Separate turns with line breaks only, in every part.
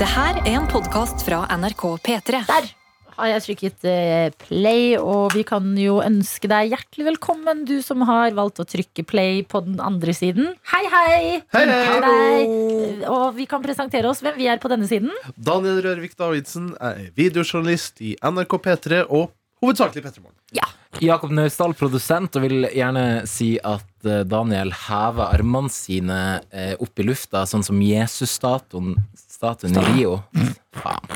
Det her er en podkast fra NRK P3.
Der har jeg trykket eh, play, og vi kan jo ønske deg hjertelig velkommen, du som har valgt å trykke play på den andre siden. Hei, hei!
Hei, hei!
Hei. Og vi kan presentere oss hvem vi er på denne siden.
Daniel Rørvik Davidsen er videojournalist i NRK P3 og hovedsakelig P3 Morgen.
Jakob Naustdal, produsent, og vil gjerne si at eh, Daniel hever armene sine eh, opp i lufta, sånn som Jesus-statuen statuen i Rio. Faen.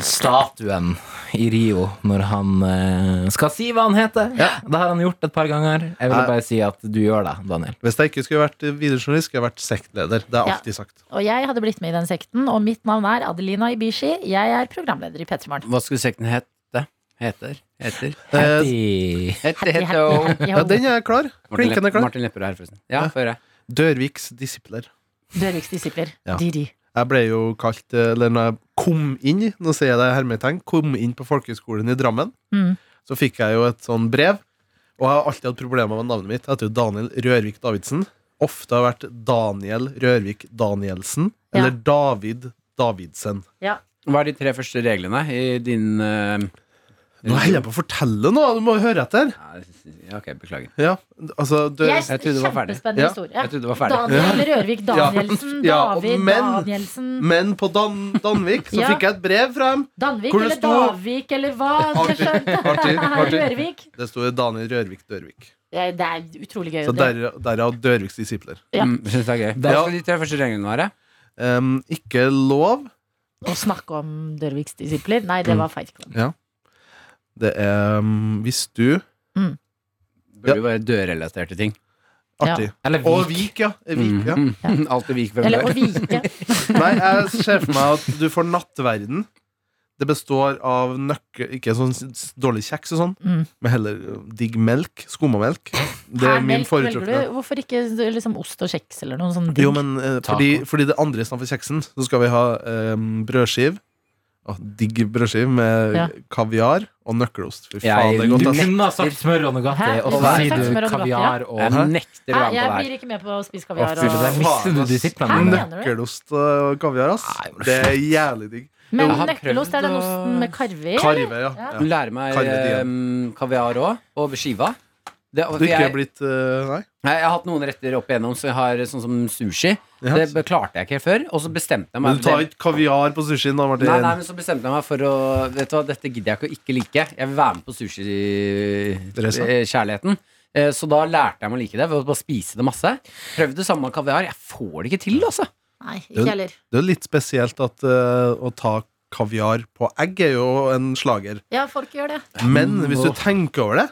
Statuen i Rio når han eh, skal si hva han heter. Det har han gjort et par ganger. Jeg vil
Nei.
bare si at du gjør det, Daniel.
Hvis jeg ikke skulle vært videojournalist, skulle jeg vært sektleder. Det er
Ja.
alltid sagt.
Og jeg hadde blitt med i den sekten, og mitt navn er Adelina Ibishi. Jeg er programleder i P3 Morgen.
Hva skulle sekten hete? Heter? Heter?
Eh,
Hattie.
Hette,
Happy,
hette og
happy,
ja,
happy,
den er klar.
Martin,
Klinkende
Lepp,
klar.
Martin Lepperød her, forresten. Ja,
Ja.
får jeg.
Dørviks disipler.
Dørviks disipler.
Ja.
Didi.
Jeg ble jo kalt, eh, eller når jeg kom inn, nå sier jeg det i hermetegn, kom inn på folkehøgskolen i Drammen,
Mm.
så fikk jeg jo et sånn brev, og jeg har alltid hatt problemer med navnet mitt. Jeg heter jo Daniel Rørvik Davidsen. Ofte har vært Daniel Rørvik Danielsen, eller David Davidsen.
Hva er de tre første reglene i din eh,
Nå holder jeg på å fortelle noe, du må høre etter.
Ja, ja, ok, beklager.
Ja, altså du,
Jeg,
Jeg trodde det var ferdig.
Kjempespennende
Ja,
historie.
Jeg trodde det var ferdig.
Daniel Rørvik Danielsen.
Ja, og
David
men-
Danielsen.
Men på Dan Danvik så
Ja.
fikk jeg et brev fra dem.
Danvik
Hvor det
eller
sto-
Davik eller hva? Jeg
Artig,
skjønte.
artig, artig.
Rørvik.
Det sto Daniel Rørvik Dørvik.
Ja, Det er utrolig gøy.
Så
det.
der- derav Dørviks disipler.
Ja.
Mm, synes det er gøy. Hva
Ja.
skal de tre første reglene være?
Em, ikke lov.
Å snakke om Dørviks disipler? Nei, det var Fight Club.
Det er em, hvis du
Burde jo være dørrelaterte ting.
Artig.
Eller
Og
Vik.
Vik, ja.
Mhm.
Vik, ja.
Mm, mm. Alltid vik hvem
Eller å
dør.
vike.
Nei, jeg ser for meg at du får nattverden. Det består av nøkkel Ikke sånn s- s- dårlig kjeks og sånn,
Mm.
men heller digg melk. Skummamelk. Det er min
Hermelk velger
foretrukne.
du. Hvorfor ikke liksom ost og kjeks eller noe sånt? digg?
Jo, men eh,
Taco.
fordi, fordi det andre i stedet for kjeksen, så skal vi ha eh, brødskiv. Å, digg brødskiv med
Ja.
kaviar og nøkkelost. Fy
Jeg-
faen, det er godt.
Du
ass.
kunne ha sagt smør og Nugatti,
Hæ?
og så
Hva?
sier
Sagt smør
du
og nougat, ja.
kaviar og
Jeg nekter å
Hæ,
være med
jeg
på det
blir
her.
ikke med på å spise
Å,
kaviar.
fy, det der
Og...
mister du disiplene
Hæ?
dine.
mener du det?
Nøkkelost og kaviar, ass.
Nei, men
Det er jævlig digg.
Men
Jeg har
nøkkelost er den
prøvd å-
osten med karve i?
Karve, ja.
Ja.
ja.
Lære meg
Karve Dian.
em, kaviar òg, og skiva. Det,
Du ikke
jeg,
er blitt eh, Nei?
Nei, jeg har hatt noen retter opp igjennom, så jeg har sånn som sushi.
Ja.
Det klarte jeg ikke før, og så bestemte jeg meg
Men du tar ikke kaviar på sushien, da, Martin?
Nei, nei, men så bestemte jeg meg for å Vet du hva, dette gidder jeg ikke å ikke like. Jeg vil være med på
Dressa?
sushikjærligheten. Eh, Så da lærte jeg meg å like det ved å bare spise det masse. Prøvde det samme med kaviar. Jeg får det ikke til, altså.
Nei, ikke heller.
Det er jo litt spesielt at eh, å ta kaviar på egg er jo en slager.
Ja, folk gjør det.
Men hvis du tenker over det,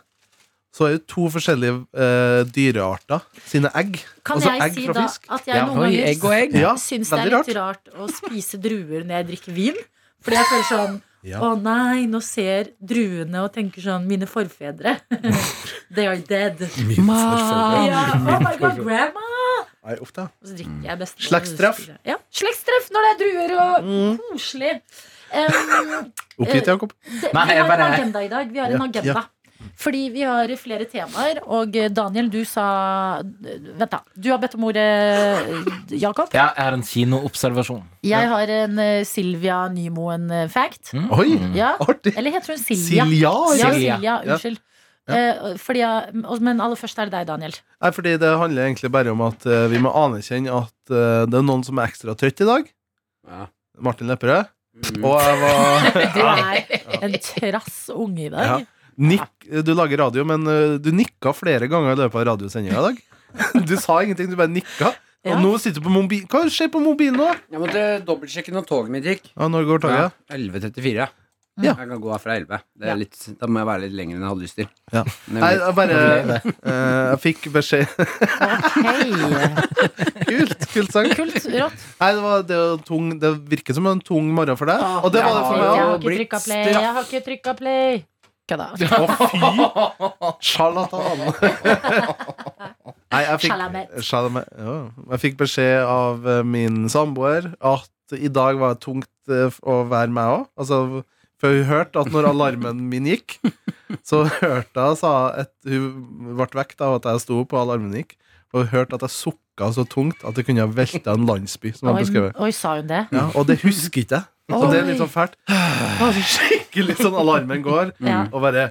så er det to forskjellige eh, dyrearter sine egg.
Kan
altså
jeg
egg
si
fra
da
fisk.
at jeg noen
Oi,
ganger
egg og egg.
Ja,
syns det er
veldig
litt rart. å spise druer når jeg drikker vin. Fordi jeg føler sånn
Ja.
Å nei, nå ser druene og tenker sånn Mine forfedre. They are dead.
rart.
Ja, oh my god, grandma!
Nei, uff da.
Og så drikker jeg best
Slektstreff.
Ja, Slektstreff når det er druer og
Mm.
koselig. Um,
Oppgitt, Jakob.
det,
Nei,
vi
jeg
har
bare-
en agenda i dag. Vi har en
Ja,
agenda. Fordi vi har flere temaer, og eh, Daniel, du sa Vent, da. Du har bedt om ordet, eh, Jakob.
Ja, jeg har en kinoobservasjon.
Jeg har en eh, Silvia Nymoen-fact.
Mm.
Oi,
eh, Ja.
artig.
Eller heter hun Silja?
Siljar.
Ja,
Silja.
Silja. Unnskyld.
Ja.
Eh, fordi jeg, og- men aller først er det deg, Daniel.
Nei, fordi det handler egentlig bare om at eh, vi må anerkjenne at eh, det er noen som er ekstra trøtt i dag.
Ja.
Martin Lepperød.
Mm.
Og jeg var
Du er en trass unge i dag.
Ja. Nikk, Du lager radio, men eh, du nikka flere ganger i løpet av radiosendinga i dag. Du sa ingenting, du bare nikka.
Ja.
Og nå sitter du på mobil Hva skjer på mobilen nå?
Jeg måtte dobbeltsjekke når toget mitt gikk.
Ja, når går toget?
11.34.
Ja.
Jeg kan gå herfra 11. Det
Ja.
er litt, da må jeg være litt lenger enn jeg hadde lyst til.
Ja.
Men
Nei,
jeg
jeg bare eh, Jeg fikk beskjed
Ok.
Kult! Kult sang.
Kult. Rått.
Nei, det, var, det, var tung, det virker som en tung morgen for deg.
Ah,
Og det var det for
Jeg
meg
har
òg.
ikke trykka play. Jeg har ikke trykka play. Kødda.
Charlatan. Nei, jeg
Chalamet.
fikk, Chalamet, ja. jeg fikk beskjed av eh, min samboer at i dag var det tungt eh, å være meg òg. Altså, for hun hørte at når alarmen min gikk, så hørte jeg sa at hun ble vekt av at jeg sto opp, og alarmen gikk. og hørte at jeg sukka så tungt at det kunne ha velta en landsby. Som jeg beskrevet.
Oi, sa hun det?
Ja, og det husker ikke jeg. Så det er litt sånn fælt. Ah, det er Skikkelig sånn alarmen går,
Ja.
og bare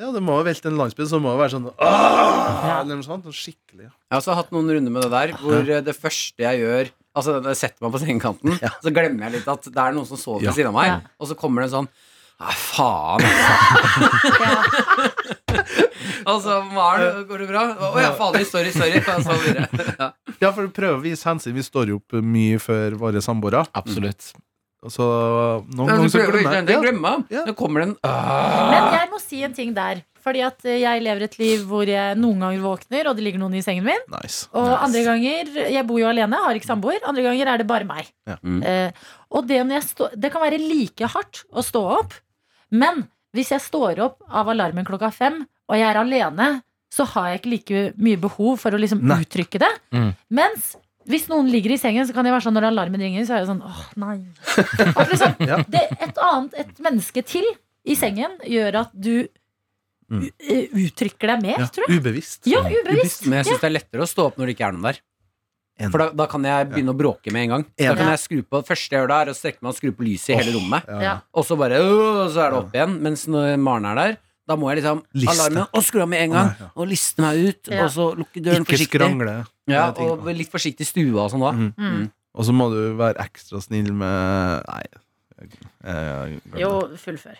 Ja, det må jo velte en landsby, så det må jo være sånn ah, Eller noe sånt. Sånn Skikkelig. ja.
Jeg har også hatt noen runder med det der hvor eh, det første jeg gjør Altså, jeg setter meg på sengekanten, så glemmer jeg litt at det er noen som sover ved
Ja.
siden av meg,
Ja.
og så kommer det en sånn Nei, faen, altså. altså, Maren, går det bra? Å ja, fader, sorry, sorry. Jeg sov videre. Ja.
Ja, for å prøve å vise hensyn. Vi står jo opp mye før våre samboere.
Absolutt.
og Så noen
Ja,
ganger
du
så
prøver å ikke
glemmer
den
jeg. Ja,
glemmer jeg.
Ja.
Nå kommer den
Men jeg må si en ting der. Fordi at eh, jeg lever et liv hvor jeg noen ganger våkner, og det ligger noen i sengen min.
nice.
Og andre ganger Jeg bor jo alene, har ikke samboer. Andre ganger er det bare meg.
Ja.
Mm.
Eh, og det, når jeg stå, det kan være like hardt å stå opp, men hvis jeg står opp av alarmen klokka fem, og jeg er alene, så har jeg ikke like mye behov for å liksom
Nei.
uttrykke det.
Mm.
Mens hvis noen ligger i sengen, så kan jeg være sånn når alarmen ringer, så er jeg sånn åh, nei. At liksom,
Ja.
det, et annet, et menneske til i sengen gjør at du
Mm.
u- eh, uttrykker deg mer,
Ja,
tror jeg.
ubevisst.
Ja, ubevisst.
Men jeg syns det er lettere å stå opp når det ikke er noen der.
Enig.
For da, da kan jeg begynne å bråke med en gang. Da
Enig.
kan jeg skru på, Det første jeg gjør da, er å strekke meg og skru på lyset i hele rommet.
Ja.
Ja.
Og så bare øh, Så er det opp igjen. Mens når Maren er der, da må jeg liksom
Liste.
alarmen og skru av med en gang.
Å, nei,
Og liste meg ut,
Ja.
og så lukke døren
Ikke
forsiktig.
skrangle.
Ja,
Det er ting, altså.
og
da.
litt forsiktig i stua og sånn da.
Mm.
Mm.
Og så må du være ekstra snill med Nei. jeg- jeg- jeg-
Jo, fullfør.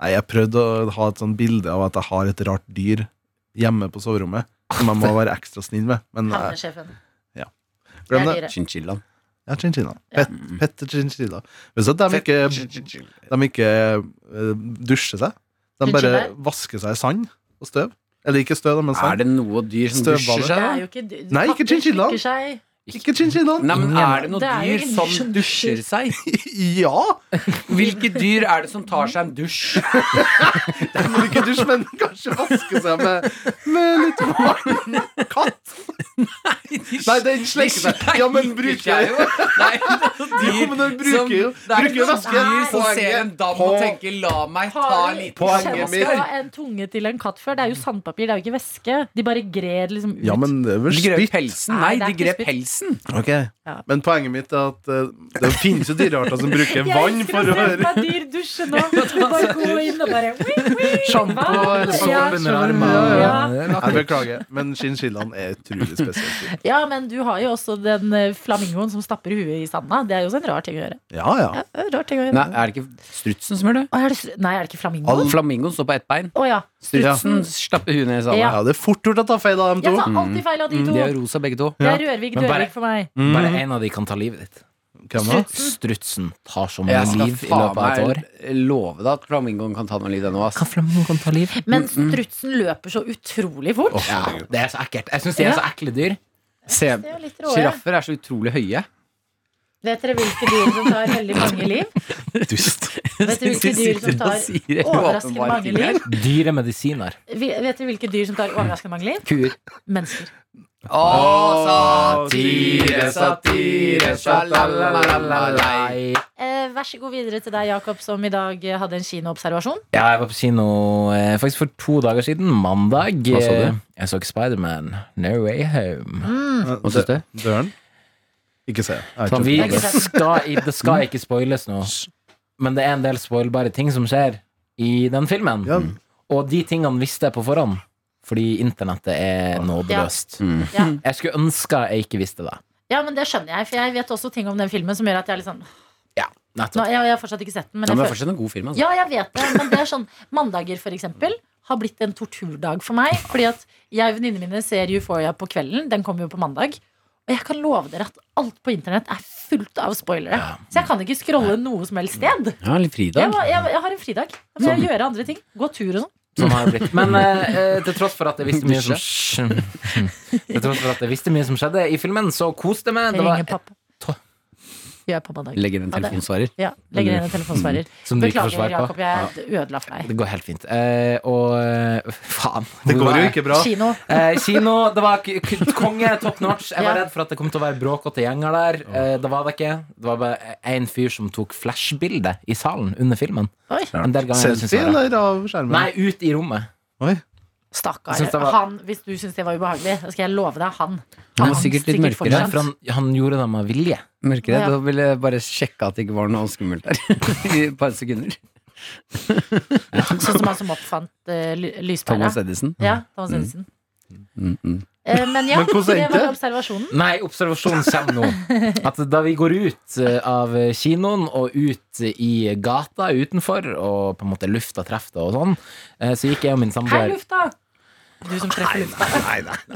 Nei, jeg prøvde å ha et sånn bilde av at jeg har et rart dyr hjemme på soverommet. Som jeg må være ekstra snill med. Men nei,
Havnesjefen.
glem
Det er
det.
dyret.
Chinchillaen.
Ja, chinchilla. Pet, pet chinchilla. Hvis at de ikke, de ikke eh, dusjer seg, de bare
Chinchilla?
vasker seg i sand og støv. Eller ikke støv, da, men
Er
sand.
det noe dyr som dusjer
Støvballer.
Det
seg? da?
er jo ikke du-
Nei, ikke
katter
chinchillaen.
slikker seg.
Ikke chinchillaen!
Nei, men er det noe
Det er jo
dyr
ingen
som
som
dusjer seg?
Ja!
Hvilke dyr er det som tar seg en dusj?
De vil ikke dusje, men kanskje vaske seg med, med litt varm katt. Nei, den slenger seg. Ja, men bruker
jeg jo Nei,
Jo, men den bruker jo Bruker jo væske.
dyr som
Poenget-
ser en dam og
Poenget-
tenker 'la meg ta
Har
en
du
liten
Poenget
kjent
mitt-
på en tunge til en katt før? Det er jo sandpapir, det er jo ikke væske. De bare grer liksom ut.
Ja, men det er vel
De grep
spytt.
pelsen. Nei,
Nei,
de
det er ikke
grep
spytt.
pelsen.
Ok,
Ja.
Men poenget mitt er at eh, det finnes jo dyrearter som
jeg
bruker vann
elsker
for
å
å
se på dyr dusje nå. Du bare går inn og bare wii, wii,
Sjampo
vann.
eller
ja,
sånn under
sjampo,
armene.
ja.
Jeg beklager, men chinchillaen er utrolig spesiell.
ja, men du har jo også den eh, flamingoen som stapper huet i sanda. Det er jo også en rar ting å gjøre.
Ja, ja.
Ja, rar ting å gjøre.
Nei, er det ikke strutsen som gjør det?
Å, er det, str- nei, er det ikke flamingoen?
Flamingoen står på ett bein.
Å ja.
Strutsen slapper huet ned i sanda.
Ja.
ja det er fort gjort å ta feil av dem
Jeg
to.
tar alltid feil av
Mm,
de to.
De er rosa begge to.
Det er Rørvik
Men bare-
Dørvik for meg.
Bare en av de kan ta livet ditt.
Hvem da?
Strutsen tar så mange
Jeg skal
liv i
faen
løpet av et
meg
år.
love deg at flamingoen kan ta noe liv ennå, ass.
flamingoen ta liv?
Men strutsen løper så utrolig fort.
Ja, det er så ekkelt. Jeg syns de er så ekle dyr.
Se,
Det er jo litt råere.
Sjiraffer er så utrolig høye.
Vet dere hvilke dyr som tar veldig mange liv?
Dust.
Vet dere hvilke dyr som tar overraskende mange liv?
Dyre medisiner.
Vi- Vet dere hvilke dyr som tar overraskende mange liv?
Kuer.
Mennesker.
Å,
satire, satire,
sjalalalalalei.
Eh, vær så god videre til deg, Jakob, som i dag eh, hadde en kinoobservasjon.
Ja, jeg var på kino eh, faktisk for to dager siden, mandag.
Hva så du?
Eh, Jeg så ikke Spiderman. No way home.
Hva syns du?
Døren? Ikke se. Jeg
Så
har
vi
ikke sett den.
skal, i- det skal ikke spoiles nå, men det er en del spoilbare ting som skjer i den filmen.
Ja.
Og de tingene visste jeg på forhånd, fordi internettet er nådeløst.
Ja.
Jeg skulle ønske jeg ikke visste det.
ja, men det skjønner jeg, for jeg vet også ting om den filmen som gjør at jeg er litt sånn
Ja,
nå,
nettopp.
jeg, jeg har fortsatt ikke sett den, men
Ja,
jeg
men det
føler
er fortsatt en god film, altså.
Ja, jeg vet det, men det er sånn Mandager, for eksempel, har blitt en torturdag for meg. Fordi at jeg og venninnene mine ser Euphoria på kvelden. Den kommer jo på mandag. Og jeg kan love dere at alt på internett er fullt av spoilere. Så jeg kan ikke scrolle noe som helst sted.
Ja, litt
Jeg,
fridag.
var- jeg, jeg har en fridag. Da må jeg gjøre andre ting. Gå tur og sånn.
Sånn har det blitt. Men eh, eh, til tross for at jeg visste mye som Til tross for at jeg visste mye som skjedde i filmen, så koste jeg meg.
Jeg
Det var
ringer pappa.
to-
Gjør jeg på mandag.
Legger en
Ja, det-
telefonsvarer.
Ja, legger inn en telefonsvarer.
Som du ikke får
Beklager,
svar på.
Jakob. Jeg ødela for deg.
Det går helt fint. Eh, og eh, faen.
Det
hvor var
går jo
jeg?
ikke bra.
Kino.
Eh, kino, det var k k konge, top notch. Jeg var
Ja.
redd for at det kom til å være bråkete gjenger der. Eh, det var det ikke. Det var bare én fyr som tok flashbilde i salen under filmen.
Oi.
En del ganger, det synes
Selfie
jeg var rart.
eller av skjermen?
Nei, ut i rommet.
Oi.
Stakkar.
Jeg synes det var-
Han, hvis du syns det var ubehagelig, så skal jeg love deg han.
Han var
Han
sikkert litt
sikkert
mørkere.
fortsatt.
For han, han gjorde det med vilje.
mørkere.
Ja.
Da ville jeg bare sjekke at det ikke var noe skummelt der i et par sekunder.
Sånn som han som oppfant uh, lyspæra.
Thomas Edison.
Ja, Thomas Edison.
Mm -mm.
Eh, men ja,
Men hvordan
det
endte
var
det?
observasjonen.
Nei, observasjonen kommer nå. At da vi går ut eh, av kinoen og ut i gata utenfor, og på en måte lufta treffer det og sånn, eh, så gikk jeg og min
Hei,
samboer
lufta! Du som treffer lufta.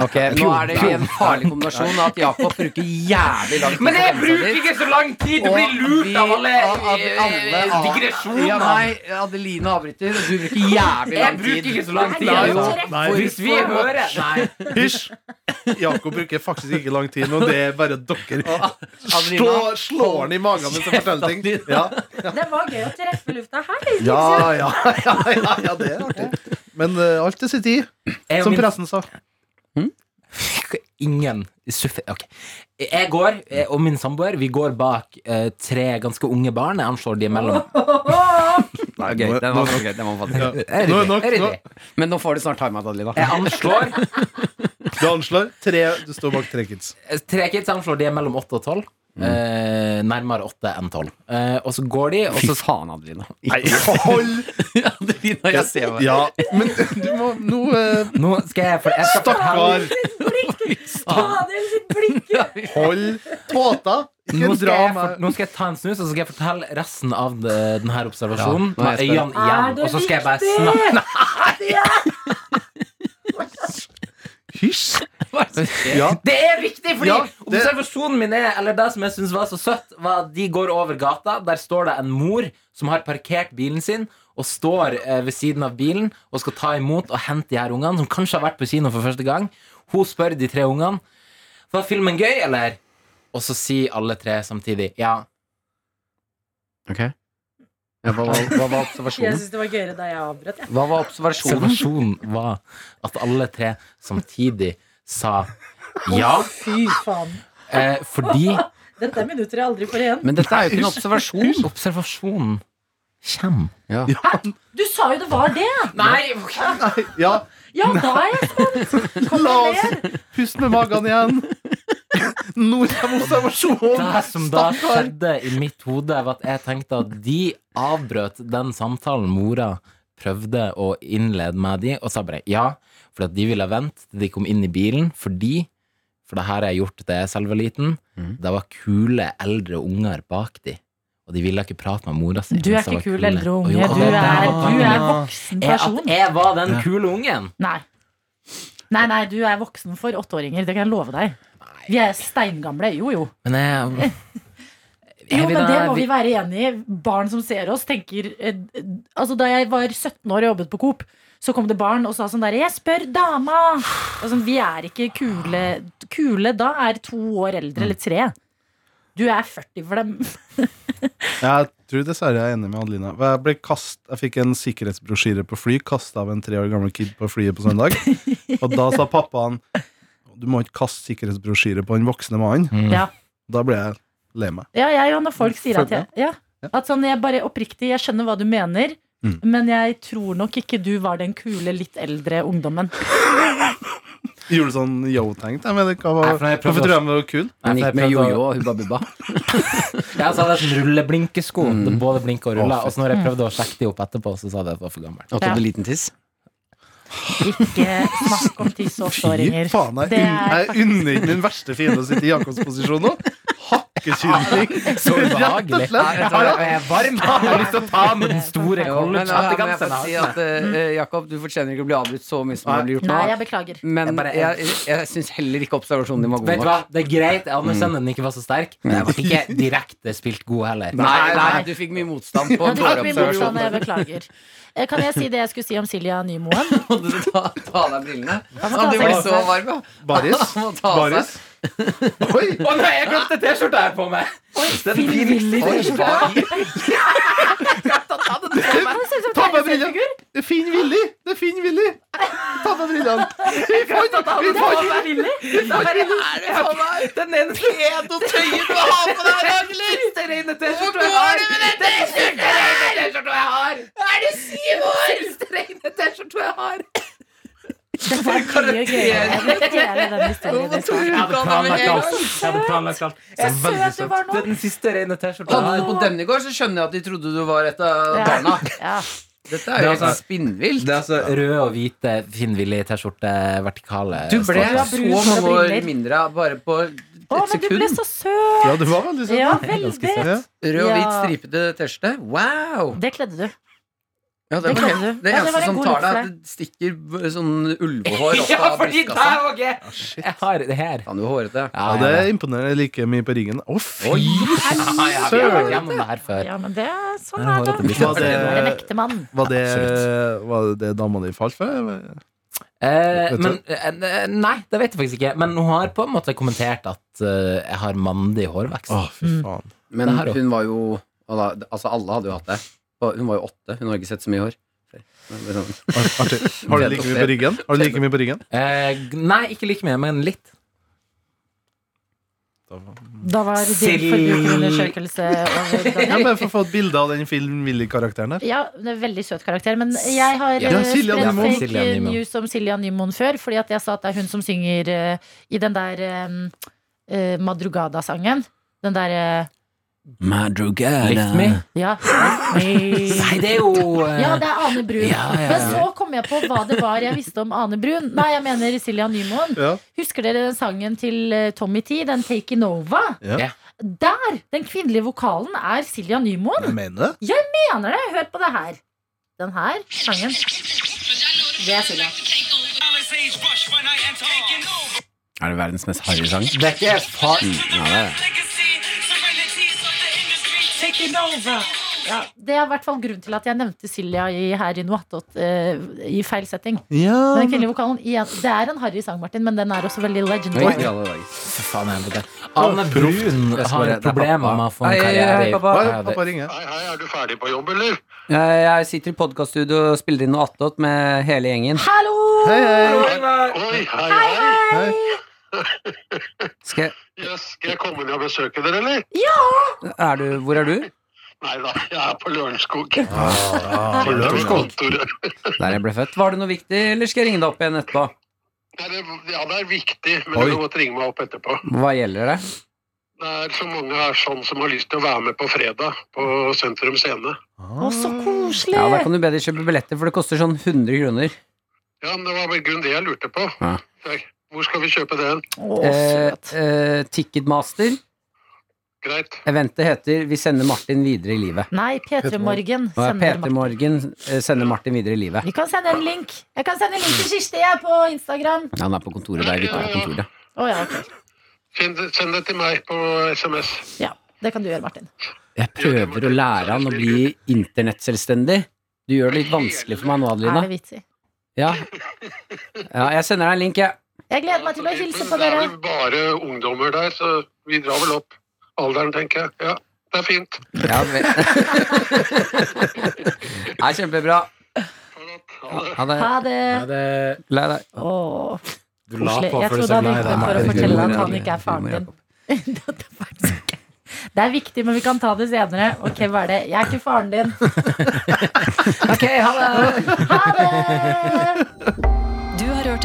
Ok, Nå er det en farlig kombinasjon at Jakob bruker jævlig lang tid på denne saken.
så lang tid!
Og vi- av- av-
eh,
alle- av- Ja, nei, Adeline avbryter, og du bruker jævlig lang tid.
tid,
Nei,
altså.
nei, nei,
Hvis vi hører Nei.
Hysj! Jakob bruker faktisk ikke lang tid nå. Det er bare dere. Slå,
Adelina,
slår han i magen mens han forteller ting. Ja,
Det var gøy å treffe lufta. Hei!
ja, ja, ja, ja, ja det er artig. Men eh, alt til sin tid,
Jeg og
som
min
pressen sa.
Ingen suffe... Ok. Jeg går, jeg og min samboer, vi går bak eh, tre ganske unge barn. Jeg anslår de mellom
Nei, gøy,
nå-
den var
nå-
gøy, den var
Ja.
fantastisk.
Er det
Nå er
det?
nok.
Er det
Nå,
det?
Men nå får du snart time-out, Adelina.
Jeg anslår
du anslår tre Du står bak tre kids.
Tre kids anslår de er mellom 8 og 12
Mm.
eh, Nærmere 8 enn 12 eh, Og så går de og
Fy
så,
faen, Adelina.
Nei, hold!
Adelina, jeg ser hva
Ja, men du må nå eh,
Nå skal jeg, for, jeg skal fortelle-
Stakkar. Hold tåta.
nå
Ikke
skal,
dra
jeg, for,
meg
nå skal jeg ta en snus Og så skal jeg fortelle resten av eh, denne observasjonen
Ja, nå er
Med
jeg spent.
øynene igjen Og så skal jeg bare snakke
snakke
Hysj!
det
Ja.
Det er viktig, fordi
Ja, det-
observasjonen min er Eller det som jeg synes var så søtt Var at de går over gata Der står det en mor som har parkert bilen sin Og står eh, ved siden av bilen Og skal ta imot og hente de her ungene Som kanskje har vært på kino for første gang Hun spør de tre ungene Var filmen gøy, eller? Og så sier alle tre samtidig Ja,
Ok ja, hva, var- hva var observasjonen?
Jeg syns det var gøyere da jeg avbrøt. jeg.
Hva var observasjonen?
observasjonen var At alle tre samtidig sa Ja,
Fy faen.
eh, fordi
Dette er minutter jeg aldri får igjen.
Men dette er jo ikke en observasjon.
observasjonen Kjem
Ja.
Du sa jo det var det!
Nei,
Ja,
Ja, da er jeg spent! Kom
la
og mer.
oss puste med magen igjen. Nå kommer observasjonen.
Det som da
Stakkar.
skjedde i mitt hode, var at jeg tenkte at de avbrøt den samtalen mora prøvde å innlede med de, og sa bare ja, for at de ville vente til de kom inn i bilen, fordi For det her har jeg gjort da jeg selv var liten.
Mhm.
Det var kule eldre unger bak de, og de ville ikke prate med mora si.
Du er
mens de var
ikke kul
kule.
eldre
Og
unge.
jo,
Du
og det
er,
der var
du er
poenget.
voksen
Jeg- at
person.
jeg var den kule ungen.
Nei. Nei, nei, du er voksen for åtteåringer. Det kan jeg love deg. Vi er steingamle. Jo, jo.
Men jeg,
Jo,
Jeg vil
men
da-
det må
vi-
vi være enig i. Barn som ser oss, tenker eh, eh, Altså, da jeg var 17 år og jobbet på Coop, så kom det barn og sa sånn derre 'Jeg spør dama!' Og sånn, vi er ikke kule. Kule da er to år eldre, eller tre. Du er 40 for dem.
Mm.
Jeg tror dessverre jeg er enig med Adelina. Jeg, ble kast, jeg fikk en sikkerhetsbrosjyre på fly, kasta av en tre år gammel kid på flyet på søndag. Og da sa pappaen du må ikke kaste sikkerhetsbrosjyre på den voksne mannen.
Ja.
Da ble jeg lei meg.
Ja, jeg og når folk sier at jeg
Følg
ja, At sånn, jeg bare oppriktig, jeg skjønner hva du mener
Mm.
Men jeg tror nok ikke du var den kule, litt eldre ungdommen
Gjorde sånn yo-tegn. Jeg mener, hva var-
Nei, for jeg prøvde
Hvorfor tror jeg han var kul?
Han gikk med jojo og hubba bubba.
jeg sa det er sånn rulleblinkesko. Det Både blinker og
Å,
ruller.
fy.
Og så når
Mm.
jeg prøvde å sjekke de opp etterpå, så sa de at jeg var for gammel.
Og
Ja.
trodde liten tiss.
Ikke snakk om tiss og
Fy
åtteåringer
faen, jeg,
Det
unn,
er
jeg unner ikke min verste fiende å sitte i Jakobs posisjon nå. Hakkekylling. Rett og
ubehagelig.
slett.
Jeg er varm.
har lyst til å ta med den store
sånn
eh, Jakob, du fortjener ikke å bli avbrutt så mye som
Nei.
du blir gjort
Nei,
nå.
jeg beklager
Men
Jeg bare-
jeg, jeg syns heller ikke observasjonen din var
Vet
god
du
nok.
hva, det er greit. Jeg anerkjenner den ikke var så sterk. Men jeg ble ikke direkte spilt god heller.
Nei, nei,
Nei.
du fikk mye motstand på
Ja,
en
du fikk
dårlig
min motstand,
observasjon.
jeg beklager Eh, Kan jeg si det jeg skulle si om Silja Nymoen?
Måtte du ta, ta av deg brillene?
Ja, men
Ja,
ta
du
seg
ble
av
så
seg.
varm, ja.
Baris.
Han må
altså.
ta av seg.
Baris. Oi!
Å nei, jeg glemte T-skjorta jeg har på meg! Den fineste
Oi, hva i-
Han ser ut som
Ta
tegneserie.
på brillene! Det er Finn Willy! Det er Finn Willy! Ta på brillene! Vi fant vi fant-
Den ene pedotøyen du har på deg, Dagler! Den ene T-skjorta jeg har! Er det syv år?! Den ene T-skjorta jeg har!
mye gøyere med hele den historien. liksom.
Jeg hadde planlagt alt. Jeg hadde planlagt alt.
Jeg
Så
ser
veldig
at du var
søtt. Det er den siste rene T-skjorta.
Hadde du på den i går, så skjønner jeg at de trodde du var et av
Ja.
barna.
Ja.
Dette er jo
Det er
helt spinnvilt.
Det er altså rød og hvite Finn-Willy T-skjorte, vertikale
Du ble
stråper.
har
så
brun, du har
mange år
briller.
mindre bare på
Å,
et
men du ble
sekund.
så søt!
Ja, du var veldig søt.
Ja,
Ganske
veldig.
søt.
Ja.
Rød og hvit
Ja.
stripete T-skjorte. Wow!
Det kledde du.
Ja, det,
Det
var
kan
helt,
du. Ja,
det
det
eneste
var en
som
god
tar
look
deg, er
for
at det stikker b- sånn ulvehår opp
Ja,
av
fordi
brystkassa.
der var jeg! Ah, Jeg har det her.
Kan du hårete?
Ja,
Ja, det er imponerende. Jeg liker mye på ringen. Å,
Oi,
fy!
ja, ja, vi har vært gjennom det her før.
Ja, men det er sånn
Jeg har
er det.
et bilde.
Var det-
Du er En ekte mann.
Var det,
Absolutt.
var det dama di falt for?
Eh,
Vet du?
men eh, Nei, det vet jeg faktisk ikke. Men hun har på en måte kommentert at eh, jeg har mandig hårvekst.
Å, fy
Mm.
faen.
Men
Det her, jo.
hun var jo Altså, alle hadde jo hatt det. Og Hun var jo åtte. Hun har ikke sett så mye hår. Men det er sånn-
Ar- Artig. Har du like mye på ryggen? Har du like mye på ryggen?
Eh, g- nei, ikke like mye, men litt.
Da var din
Sil-
forbrukerundersøkelse over
Jeg
Daniel.
må bare få få et bilde av den film-Willy-karakteren der.
Ja, det er en veldig søt karakter. Men jeg har
Ja,
eh,
Silja
spredt
Nymoen.
fake
Silja Nymoen.
news om Silja Nymoen før, fordi at jeg sa at det er hun som synger eh, i den der eh, eh, Madrugada-sangen. Den der eh,
Lift me.
Ja. Nei,
Nei, det er jo eh,
Ja, det er Ane Brun.
Ja, ja, ja.
Men så kom jeg på hva det var jeg visste om Ane Brun. Nei, jeg mener Silja Nymoen.
Ja.
Husker dere den sangen til eh, Tommy T, den Taking Over?
Ja.
Ja.
Der! Den kvinnelige vokalen er Silja Nymoen.
Jeg mener det.
Mener det! Hør på det her. Den her sangen. Det er Silja.
Er det verdens mest harry sang?
Det er ikke far...
Ja, det er i hvert fall grunnen til at jeg nevnte Silja i, her i Noatot eh, i feil setting.
Ja.
Men den kvinnelige vokalen igjen, Det er en harry sang, Martin, men den er også veldig legendary.
Fy faen, helvete. Anne Brun har problemer med å få en
Hei, hei,
karriere.
hei,
i-
pappa.
Oi, Pappa ringer.
Hei, hei, er du ferdig på jobb, eller?
Jeg sitter i podkaststudio og spiller inn noe attåt med hele gjengen.
Hallo!
Hei, hei.
Oi, hei, hei.
hei.
Skal,
Yes, skal jeg komme ned og besøke dere, eller?
er du, hvor er du?
Nei da, jeg er på Lørenskog.
på Lørenskog.
Kontoret.
Der jeg ble født. Var det noe viktig, eller skal jeg ringe deg opp igjen etterpå?
Nei, det- Ja, det er viktig, men
Oi.
du kan godt ringe meg opp etterpå.
Hva gjelder det?
Det er så mange her sånn som har lyst til å være med på fredag på Sentrum Scene.
Å, så koselig!
Ja, Da kan du be de kjøpe billetter, for det koster sånn 100 kroner.
Ja, men det var vel grunn det jeg lurte på.
Ja.
Det- Hvor skal vi kjøpe den?
Å,
Eh,
søt.
eh, Ticketmaster.
Greit.
Eventet heter 'Vi sender Martin videre i livet'.
Nei, P3 Morgen
Og
sender
Peter
Martin.
Morgen eh, sender Martin videre i livet.
Vi kan sende en link. Jeg kan sende en link til Kirsti jeg på Instagram.
Ja, Han er på kontoret der vi ikke er på kontoret.
Å ja, ok.
Send, det- send det til meg på SMS.
Ja, det kan du gjøre, Martin.
Jeg prøver å lære han å bli internettselvstendig. Du gjør det litt vanskelig for meg nå,
Er
Adelina.
det vits i?
Ja. ja, jeg sender deg en link, jeg.
Jeg gleder meg til å hilse på
Det
dere.
er vel bare ungdommer der, så vi drar vel opp alderen, tenker jeg. Ja, det er fint.
Ja, vel. Nei, kjempebra.
Ha
Ha
det.
det.
Ha det.
Ja, det-
Lei deg.
Åh,
Du la
koselig.
på
Jeg
for du
trodde
sa
han
nei.
gikk
det er
ut for å
meg.
fortelle
Humor,
at han
Jakob.
ikke er faren din.
Humor,
Det er faktisk ikke- Det er viktig, men vi kan ta det senere. Ok, hva er det? Jeg er ikke faren din.
Ok, ha det.
Ha det!
Du har hørt